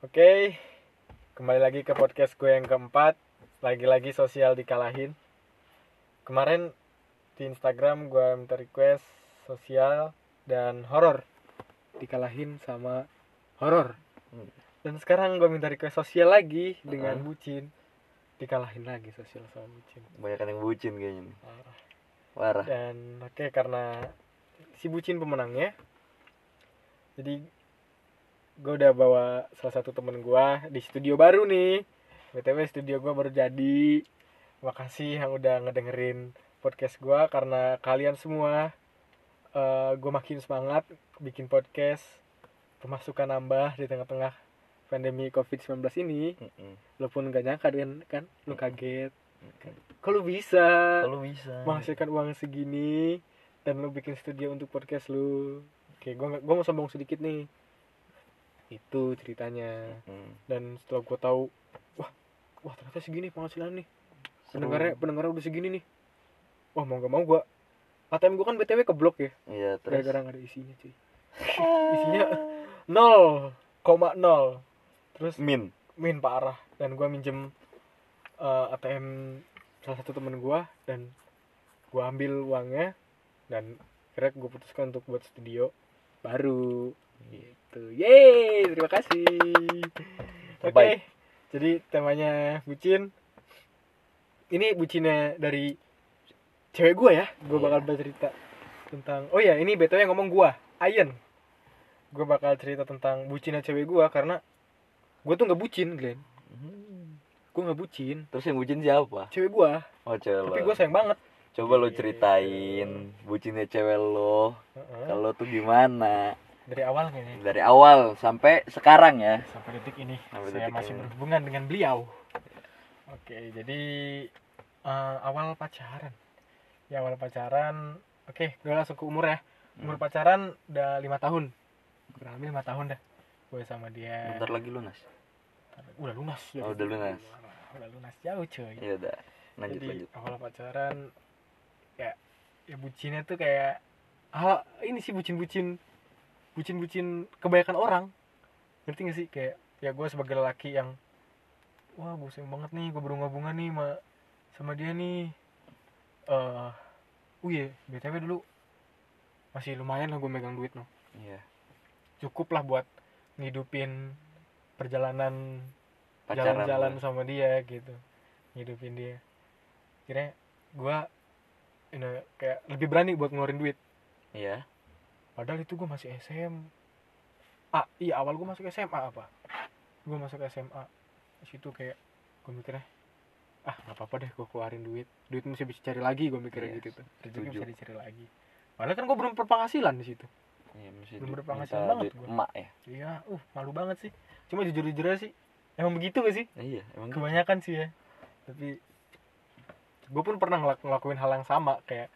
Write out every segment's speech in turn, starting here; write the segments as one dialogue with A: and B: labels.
A: Oke, kembali lagi ke podcast gue yang keempat. Lagi-lagi sosial dikalahin. Kemarin di Instagram gue minta request sosial dan horor dikalahin sama horor.
B: Hmm.
A: Dan sekarang gue minta request sosial lagi dengan
B: Uh-uh.
A: bucin. Dikalahin lagi sosial sama bucin.
B: Banyak yang bucin kayaknya nih.
A: Parah.
B: Parah.
A: Dan oke karena si bucin pemenangnya. Jadi gue udah bawa salah satu temen gue di studio baru nih. BTW studio gue baru jadi. Makasih yang udah ngedengerin podcast gue karena kalian semua gue makin semangat bikin podcast. Pemasukan nambah di tengah-tengah pandemi COVID-19 ini.
B: Mm-mm.
A: Lo pun gak nyangka kan, kan? Lo kaget.
B: Mm-mm.
A: Kalau bisa?
B: Kalau bisa.
A: menghasilkan uang segini dan lu bikin studio untuk podcast lu oke gua nggak- gua mau sombong sedikit nih itu ceritanya
B: Mm.
A: dan setelah gua tahu wah wah ternyata segini penghasilan nih
B: Seru.
A: pendengarnya pendengarnya udah segini nih wah mau nggak mau gua ATM gua kan btw keblok ya
B: Iya, terus.
A: gara-gara nggak ada isinya cuy isinya nol koma nol terus
B: min.
A: min parah dan gua minjem eh, ATM salah satu temen gua dan gua ambil uangnya dan akhirnya gue putuskan untuk buat studio baru gitu yeay terima kasih oke
B: Terbaik.
A: jadi temanya bucin ini bucinnya dari cewek gua ya gue
B: Iya.
A: bakal bercerita tentang oh ya ini btw yang ngomong gua Ayen gue bakal cerita tentang bucinnya cewek gua karena gue tuh nggak bucin Glenn
B: Mm.
A: gue nggak bucin
B: Terus yang bucin siapa?
A: cewek gua
B: Oh, cewek
A: tapi
B: lo.
A: gue sayang banget
B: Coba lo ceritain bucinnya cewek lo.
A: Heeh.
B: Kalau tuh gimana?
A: dari awal kayaknya
B: Dari awal sampai sekarang ya.
A: sampai detik ini
B: Sampai
A: saya
B: detik
A: masih
B: ini.
A: berhubungan dengan beliau oke jadi eh, awal pacaran ya awal pacaran oke gue langsung ke umur ya umur pacaran udah lima tahun kurang lebih lima tahun dah gue sama dia
B: Bentar lagi lunas.
A: udah lunas ya.
B: Oh, udah lunas.
A: udah lunas jauh cuy
B: Ya udah. Lanjut
A: jadi
B: lanjut.
A: awal pacaran ya ya bucinnya tuh kayak hal ini sih bucin-bucin bucin-bucin kebanyakan orang ngerti gak sih kayak ya gue sebagai lelaki yang wah gue sayang banget nih gue berhubungan nih sama sama dia nih eh uh iya btw dulu masih lumayan lah gue megang duit no
B: Iya.
A: cukup lah buat ngidupin perjalanan
B: Pacaran.
A: jalan-jalan
B: lo.
A: sama dia gitu ngidupin dia akhirnya gue ini kayak lebih berani buat ngeluarin duit
B: Iya.
A: padahal itu gue masih SM ah iya awal gue masuk SMA apa gue masuk SMA di situ kayak gue mikirnya ah nggak apa-apa deh gue keluarin duit duit masih bisa cari lagi gue mikirnya
B: Iya,
A: gitu tuh rezeki
B: setuju.
A: bisa dicari lagi padahal kan gue belum berpenghasilan di situ
B: Iya, mesti
A: Belum
B: du-
A: berpenghasilan
B: minta
A: banget
B: duit
A: gua.
B: Emak ya.
A: iya uh malu banget sih cuma jujur jujur aja sih emang begitu gak sih
B: Iya, emang
A: kebanyakan sih ya tapi gue pun pernah ngelak- ngelakuin hal yang sama kayak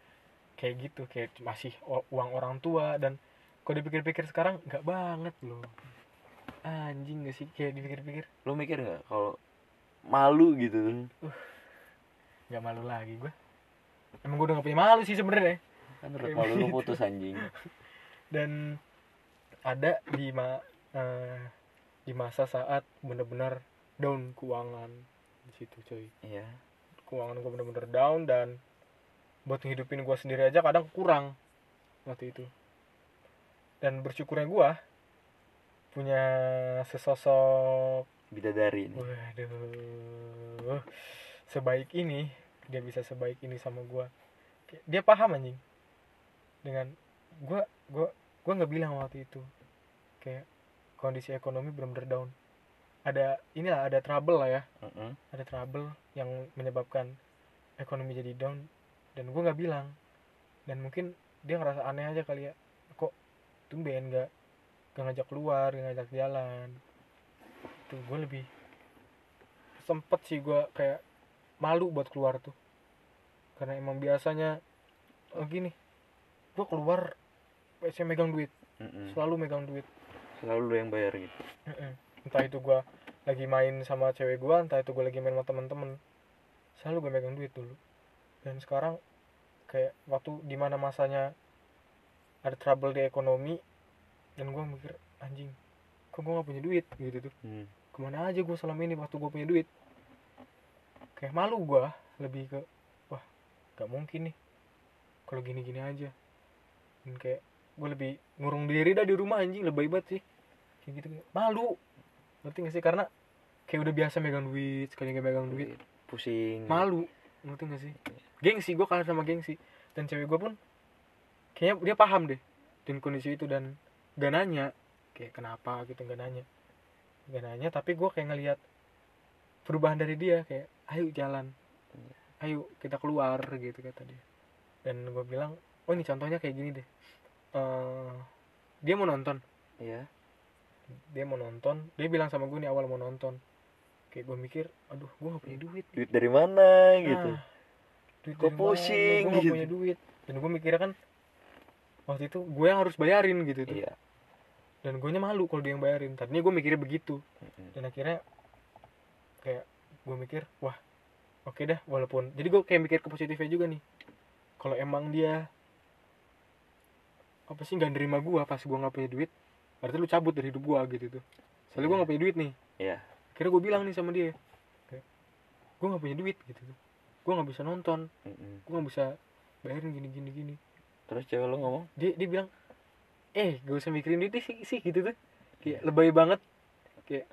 A: kayak gitu kayak masih o- uang orang tua dan kalau dipikir-pikir sekarang nggak banget loh Ah, anjing gak sih kayak dipikir-pikir
B: lu mikir nggak kalau malu gitu
A: nggak malu lagi gue emang gue udah gak punya malu sih sebenarnya
B: kan
A: Kayak
B: malu lu
A: begitu.
B: putus anjing
A: dan ada di ma eh, di masa saat bener-bener down keuangan di situ coy
B: iya
A: keuangan gue bener-bener down dan buat ngehidupin gue sendiri aja kadang kurang waktu itu dan bersyukurnya gue punya sesosok
B: bidadari ini
A: waduh sebaik ini dia bisa sebaik ini sama gue dia paham anjing dengan gue gue gue nggak bilang waktu itu kayak kondisi ekonomi bener-bener down ada inilah ada trouble lah ya
B: Mm-mm.
A: ada trouble yang menyebabkan ekonomi jadi down dan gue nggak bilang dan mungkin dia ngerasa aneh aja kali ya kok tumben nggak nggak ngajak keluar nggak ngajak jalan tuh gue lebih sempet sih gue kayak malu buat keluar tuh karena emang biasanya eh, gini gue keluar saya megang duit
B: Mm-mm.
A: selalu megang duit
B: selalu lu yang bayar gitu
A: Mm-mm. entah itu gua lagi main sama cewek gua entah itu gua lagi main sama temen-temen selalu gue megang duit dulu dan sekarang kayak waktu dimana masanya ada trouble di ekonomi dan gua mikir anjing kok gue gak punya duit gitu tuh
B: Hmm.
A: kemana aja gue selama ini waktu gue punya duit kayak malu gue lebih ke wah gak mungkin nih kalau gini-gini aja dan kayak gue lebih ngurung diri dah di rumah anjing lebih banget sih kayak gitu malu ngerti gak sih karena kayak udah biasa megang duit sekali gak megang duit
B: pusing
A: malu ngerti gak sih gengsi gue kalah sama gengsi dan cewek gue pun kayaknya dia paham deh dan kondisi itu dan gak nanya kayak kenapa gitu gak nanya gak nanya tapi gue kayak ngelihat perubahan dari dia kayak ayo jalan ayo kita keluar gitu kata dia dan gue bilang oh ini contohnya kayak gini deh Eh, dia mau nonton
B: ya
A: dia mau nonton dia bilang sama gue nih awal mau nonton kayak gue mikir aduh gue gak punya duit nih
B: duit dari mana gitu
A: Nah, duit
B: Kok pusing
A: gue
B: gitu.
A: punya duit dan gue mikirnya kan waktu itu gue yang harus bayarin gitu tuh
B: iya
A: dan gue malu kalau dia yang bayarin tadinya gue mikirnya begitu
B: Mm-mm.
A: dan akhirnya kayak gue mikir wah oke dah walaupun jadi gue kayak mikir ke positifnya juga nih kalau emang dia apa sih nggak nerima gue pas gue nggak punya duit berarti lu cabut dari hidup gue gitu tuh soalnya gue
B: Iya.
A: nggak punya duit nih
B: Iya.
A: akhirnya gue bilang nih sama dia kayak, gue nggak punya duit gitu tuh gue nggak bisa nonton
B: Mm-mm.
A: gue nggak bisa bayarin gini gini gini
B: terus cewek lo ngomong
A: dia dia bilang eh gak usah mikirin duit sih sih gitu tuh kayak
B: Iya.
A: lebay banget kayak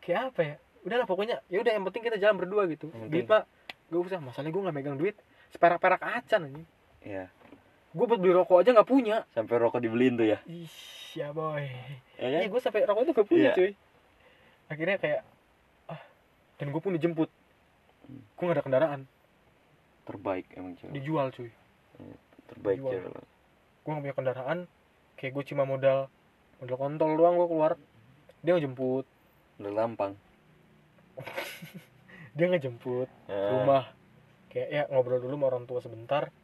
A: kayak apa ya udahlah pokoknya ya udah yang penting kita jalan berdua gitu
B: Yang
A: duit
B: penting.
A: pak gak usah masalahnya gue nggak megang duit seperak perak acan aja
B: ya
A: gue buat beli rokok aja nggak punya
B: sampai rokok dibeliin tuh ya
A: ih ya boy
B: ya
A: iya
B: kan
A: gue sampai rokok itu gak punya
B: Iya.
A: cuy akhirnya kayak ah dan gue pun dijemput
B: Hmm.
A: gue gak ada kendaraan
B: terbaik emang cewek lo.
A: dijual cuy
B: terbaik
A: dijual.
B: cewek lo
A: gue gak punya kendaraan kayak gue cuma modal modal kontol doang gue keluar dia ngejemput
B: udah lampang
A: dia ngejemput ke
B: Ah,
A: rumah kayak ya ngobrol dulu sama orang tua sebentar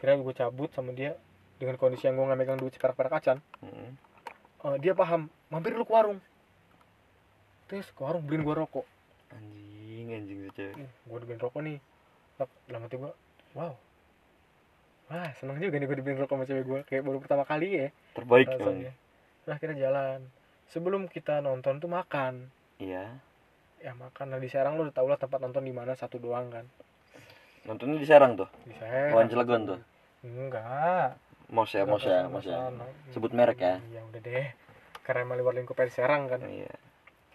A: kira gue cabut sama dia dengan kondisi yang gue gak megang duit seperak perak acan
B: mm-mm.
A: Eh, dia paham mampir lu ke warung terus ke warung beliin gue rokok
B: anjing anjing tuh cewek
A: gue dibeliin rokok nih Tek, dalam hati gue wow wah seneng juga nih gue dibeliin rokok sama cewek gue kayak baru pertama kali ya
B: terbaik emang
A: rasanya nah akhirnya jalan sebelum kita nonton tuh makan
B: iya
A: ya makan nah di Serang lu udah tau lah tempat nonton di mana satu doang kan
B: nontonnya di Serang tuh
A: di Serang
B: lawan Cilegon tuh
A: enggak
B: mos ya mos ya mos ya
A: Sama-sama.
B: Sebut merek ya.
A: ya udah deh karena emang luar lingkupnya di Serang kan
B: iya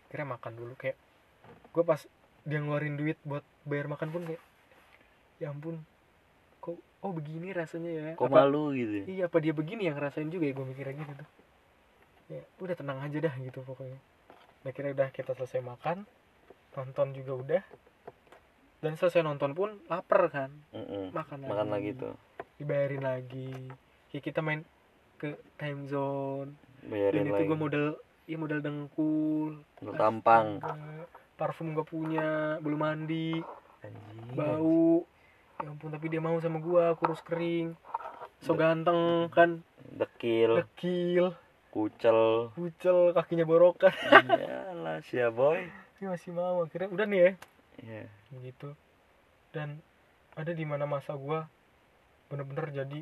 A: kira makan dulu kayak gue pas dia ngeluarin duit buat bayar makan pun kayak ya ampun kok oh begini rasanya ya
B: kok
A: Apa-
B: malu gitu ya?
A: iya apa dia begini yang ngerasain juga ya gue mikirnya gitu tuh ya udah tenang aja dah gitu pokoknya nah kira udah kita selesai makan nonton juga udah dan selesai nonton pun lapar kan
B: Mm-mm.
A: makan
B: makan lagi tuh
A: dibayarin lagi kayak kita main ke time zone dan itu
B: bayarin lagi
A: gue model ya model dengkul
B: Lu tampang Iya,
A: Astaga, parfum gak punya belum mandi
B: anjing
A: bau ya ampun tapi dia mau sama gua kurus kering so ganteng kan
B: dekil
A: dekil
B: kucel
A: bucel kakinya borokan
B: iyalah sia boy
A: tapi masih mau akhirnya udah nih ya
B: Iya.
A: begitu dan ada di mana masa gua bener-bener jadi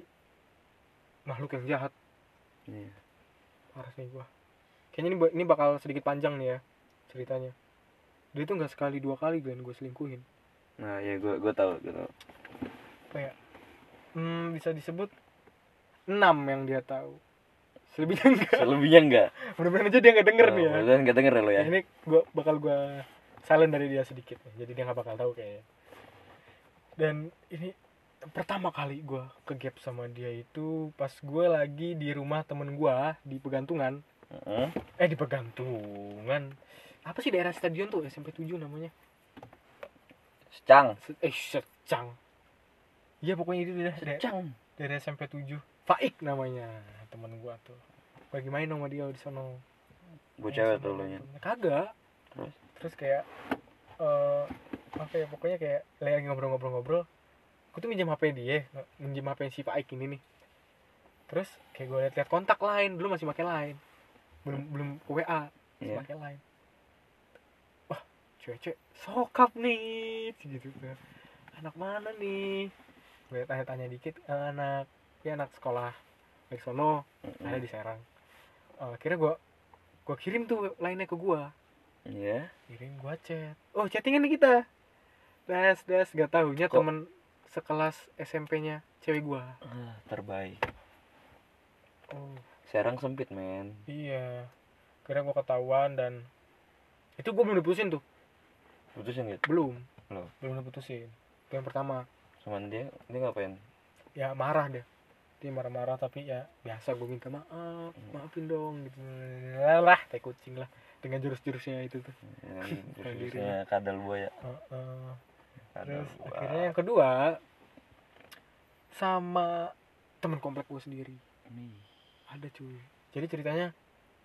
A: makhluk yang jahat
B: Iya.
A: parah sih gua kayaknya ini ba- ini bakal sedikit panjang nih ya ceritanya dia tuh nggak sekali dua kali Glenn gue selingkuhin
B: nah ya gue gue tahu gue tahu
A: hmm, bisa disebut enam yang dia tahu selebihnya enggak
B: selebihnya enggak
A: bener-bener aja dia nggak
B: Nah,
A: denger nih ya
B: Kemudian nggak denger lo ya
A: ini gua bakal gua silent dari dia sedikit nih, jadi dia nggak bakal tahu kayaknya dan ini pertama kali gua ke gap sama dia itu pas gua lagi di rumah temen gua di pegantungan
B: Heeh.
A: eh di pegantungan apa sih daerah stadion tuh SMP 7 namanya
B: secang
A: Se- eh secang iya pokoknya itu daerah daerah-
B: secang
A: dari SMP 7 Faik namanya temen gua tuh bagi main sama dia di sono
B: gue cewek tuh lo nya
A: kagak
B: Terus?
A: terus kayak eh apa ya pokoknya kayak lagi ngobrol-ngobrol-ngobrol aku tuh minjem HP dia minjem HP si Faik ini nih terus kayak gue liat-liat kontak lain dulu masih pakai lain belum belum ke WA masih
B: Iya.
A: pakai lain wah cewek-cewek sokap nih gitu tuh anak mana nih gue tanya-tanya dikit eh, anak ya anak sekolah dari sono ada
B: Mm-mm.
A: di Serang Eh, akhirnya gue gua kirim tuh lainnya ke gua
B: Iya.
A: kirim gua chat oh chattingan nih kita das das gak tahunya
B: Kok-
A: temen sekelas SMP-nya cewek gua
B: Ah, terbaik.
A: oh
B: Serang sempit, men.
A: iya kira gua ketahuan dan itu gua belum diputusin tuh
B: Putusin gitu.
A: belum
B: Belum.
A: belum diputusin itu yang pertama
B: Cuman dia dia ngapain?
A: ya marah dia dia marah-marah tapi ya biasa gue minta maaf
B: Hmm.
A: maafin dong gitu lah kayak kucing lah dengan jurus-jurusnya itu tuh
B: Iya, Khususnya kan? Iya, kadal buaya.
A: Heeh.
B: Kadal
A: terus
B: buaya.
A: akhirnya yang kedua sama temen komplek gue sendiri
B: Nih.
A: ada cuy jadi ceritanya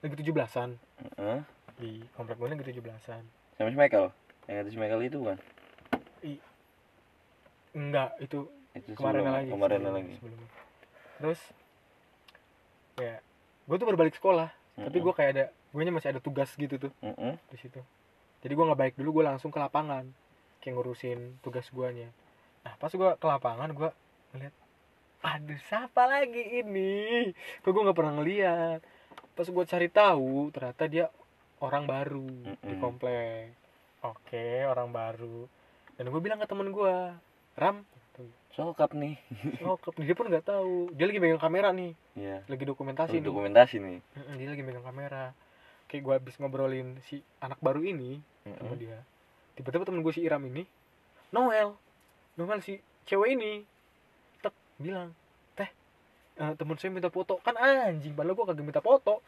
A: lagi 17-an
B: Hah?
A: di komplek gue lagi 17-an
B: Sama si Michael. Yang kata si Michael itu kan?
A: enggak itu
B: Itu
A: kemarin
B: sebelum-
A: lagi
B: Kemarin
A: sebelum-
B: lagi.
A: sebelumnya. terus ya gue tuh berbalik sekolah tapi gue kayak ada gue masih ada tugas gitu tuh
B: Heeh.
A: di situ jadi gue nggak baik dulu gue langsung ke lapangan kayak ngurusin tugas guanya nah pas gue ke lapangan gue ngeliat aduh siapa lagi ini kok gue nggak pernah ngeliat pas gue cari tahu ternyata dia orang baru di
B: Mm-mm.
A: komplek oke orang baru dan gue bilang ke temen gue ram
B: Sokap nih.
A: oh ke- dia pun nggak tahu dia lagi megang kamera nih
B: Iya.
A: lagi dokumentasi nih
B: Dokumentasi nih.
A: Mm-mm, dia lagi megang kamera kayak gue habis ngobrolin si anak baru ini sama
B: Mm-mm.
A: dia tiba-tiba temen gue si Iram ini Noel Noel si cewek ini tek bilang teh eh, temen saya minta foto kan anjing padahal gue kagak minta foto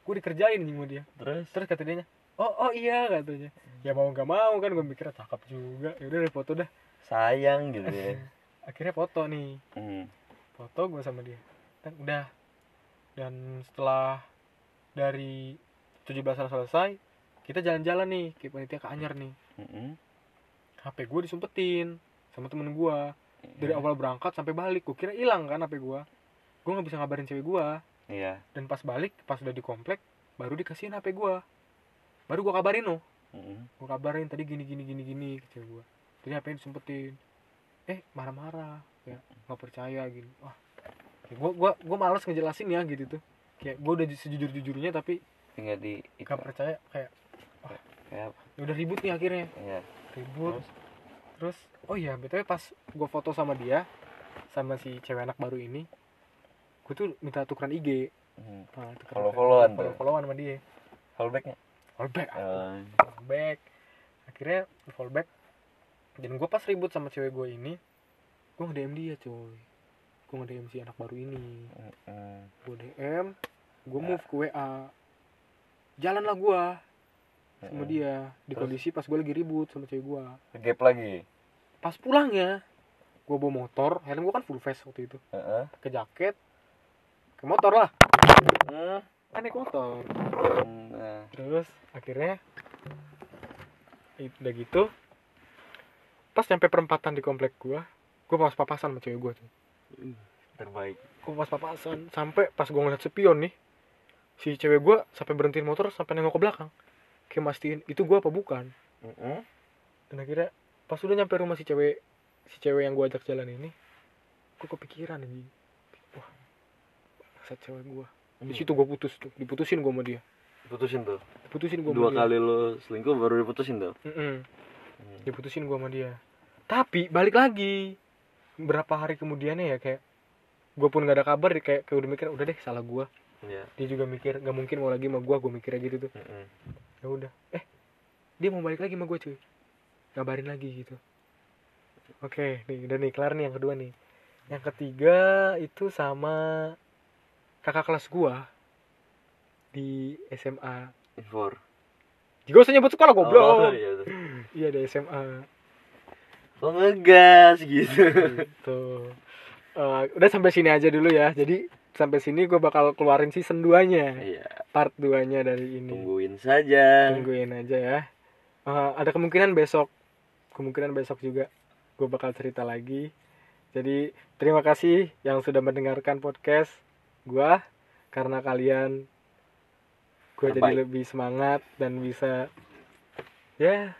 A: gue dikerjain anjing sama dia
B: Terus
A: terus kata dia oh oh iya katanya ya mau nggak mau kan gue mikirnya cakep juga ya udah deh foto dah
B: sayang gitu ya.
A: akhirnya foto nih
B: Hmm.
A: foto gue sama dia Tek, udah dan setelah dari 17-an selesai kita jalan-jalan nih ke panitia ke Anyer nih
B: Mm-mm.
A: HP gue disumpetin sama temen gue dari
B: Iya.
A: awal berangkat sampai balik gue kira hilang kan HP gue gue nggak bisa ngabarin cewek gue
B: Iya.
A: dan pas balik pas udah di komplek baru dikasihin HP gue baru gue kabarin loh
B: Mm-mm.
A: gue kabarin tadi gini gini gini gini ke cewek gue jadi HP disumpetin eh marah-marah ya nggak percaya gini wah ya gue gua gua males ngejelasin ya gitu tuh kayak gue udah sejujur jujurnya tapi
B: Tinggal di itu.
A: nggak percaya kayak
B: Iya. Kayak apa?
A: ya udah ribut nih akhirnya
B: Iya.
A: ribut
B: Terus?
A: terus oh iya btw pas gue foto sama dia sama si cewek anak baru ini gue tuh minta tukeran IG
B: Hmm.
A: nah, tukeran-
B: Follow-followan tuh.
A: follow-followan sama dia
B: Callbacknya?
A: follow back
B: Eh,
A: follow back akhirnya follow back dan gue pas ribut sama cewek gue ini gue nge DM dia coy gue nge DM si anak baru ini
B: mm,
A: gue DM gue
B: Ya.
A: move ke WA jalan lah gue sama
B: mm.
A: dia di
B: Terus?
A: kondisi pas gue lagi ribut sama cewek gue
B: Gap lagi.
A: pas pulangnya gue bawa motor helm gue kan full face waktu itu
B: Heeh.
A: ke jaket ke motor lah
B: Hmm.
A: kan naik motor
B: Nah,
A: terus akhirnya itu udah gitu pas nyampe perempatan di komplek gua gua pas papasan sama cewek gua tuh
B: terbaik.
A: gua pas papasan sampai pas gua ngeliat sepion nih si cewek gua sampai berhentiin motor sampai nengok ke belakang kayak mastiin itu gua apa bukan
B: Heeh.
A: dan akhirnya pas udah nyampe rumah si cewek si cewek yang gue ajak jalan ini gue kepikiran ini wah saat cewek gue di situ gue putus tuh diputusin gue sama dia
B: Mm. putusin tuh.
A: diputusin gue sama
B: Dua
A: dia
B: kali lo selingkuh baru diputusin tuh.
A: Mm-mm. diputusin gue sama dia tapi balik lagi berapa hari kemudiannya ya kayak gue pun gak ada kabar dia kayak kayak udah mikir udah deh salah gue
B: Iya.
A: dia juga mikir gak mungkin mau lagi sama gue gue mikirnya gitu tuh
B: Heeh.
A: ya udah eh dia mau balik lagi sama gue cuy ngabarin lagi gitu oke nih udah nih kelar nih yang kedua nih yang ketiga itu sama kakak kelas gua di SMA
B: Infor.
A: jika usah nyebut sekolah goblok
B: Oh, iya. tuh.
A: iya di SMA
B: Lo ngegas gitu.
A: gitu Eh, udah sampai sini aja dulu ya jadi sampai sini gua bakal keluarin season 2 nya
B: Iya.
A: part 2 nya dari ini
B: Tungguin saja.
A: tungguin aja ya Eh, ada kemungkinan besok kemungkinan besok juga gue bakal cerita lagi jadi terima kasih yang sudah mendengarkan podcast gue karena kalian gue jadi
B: Terbaik.
A: lebih semangat dan bisa ya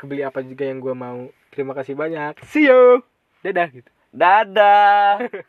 A: kebeli apa juga yang gue mau terima kasih banyak see you dadah gitu
B: Dadah.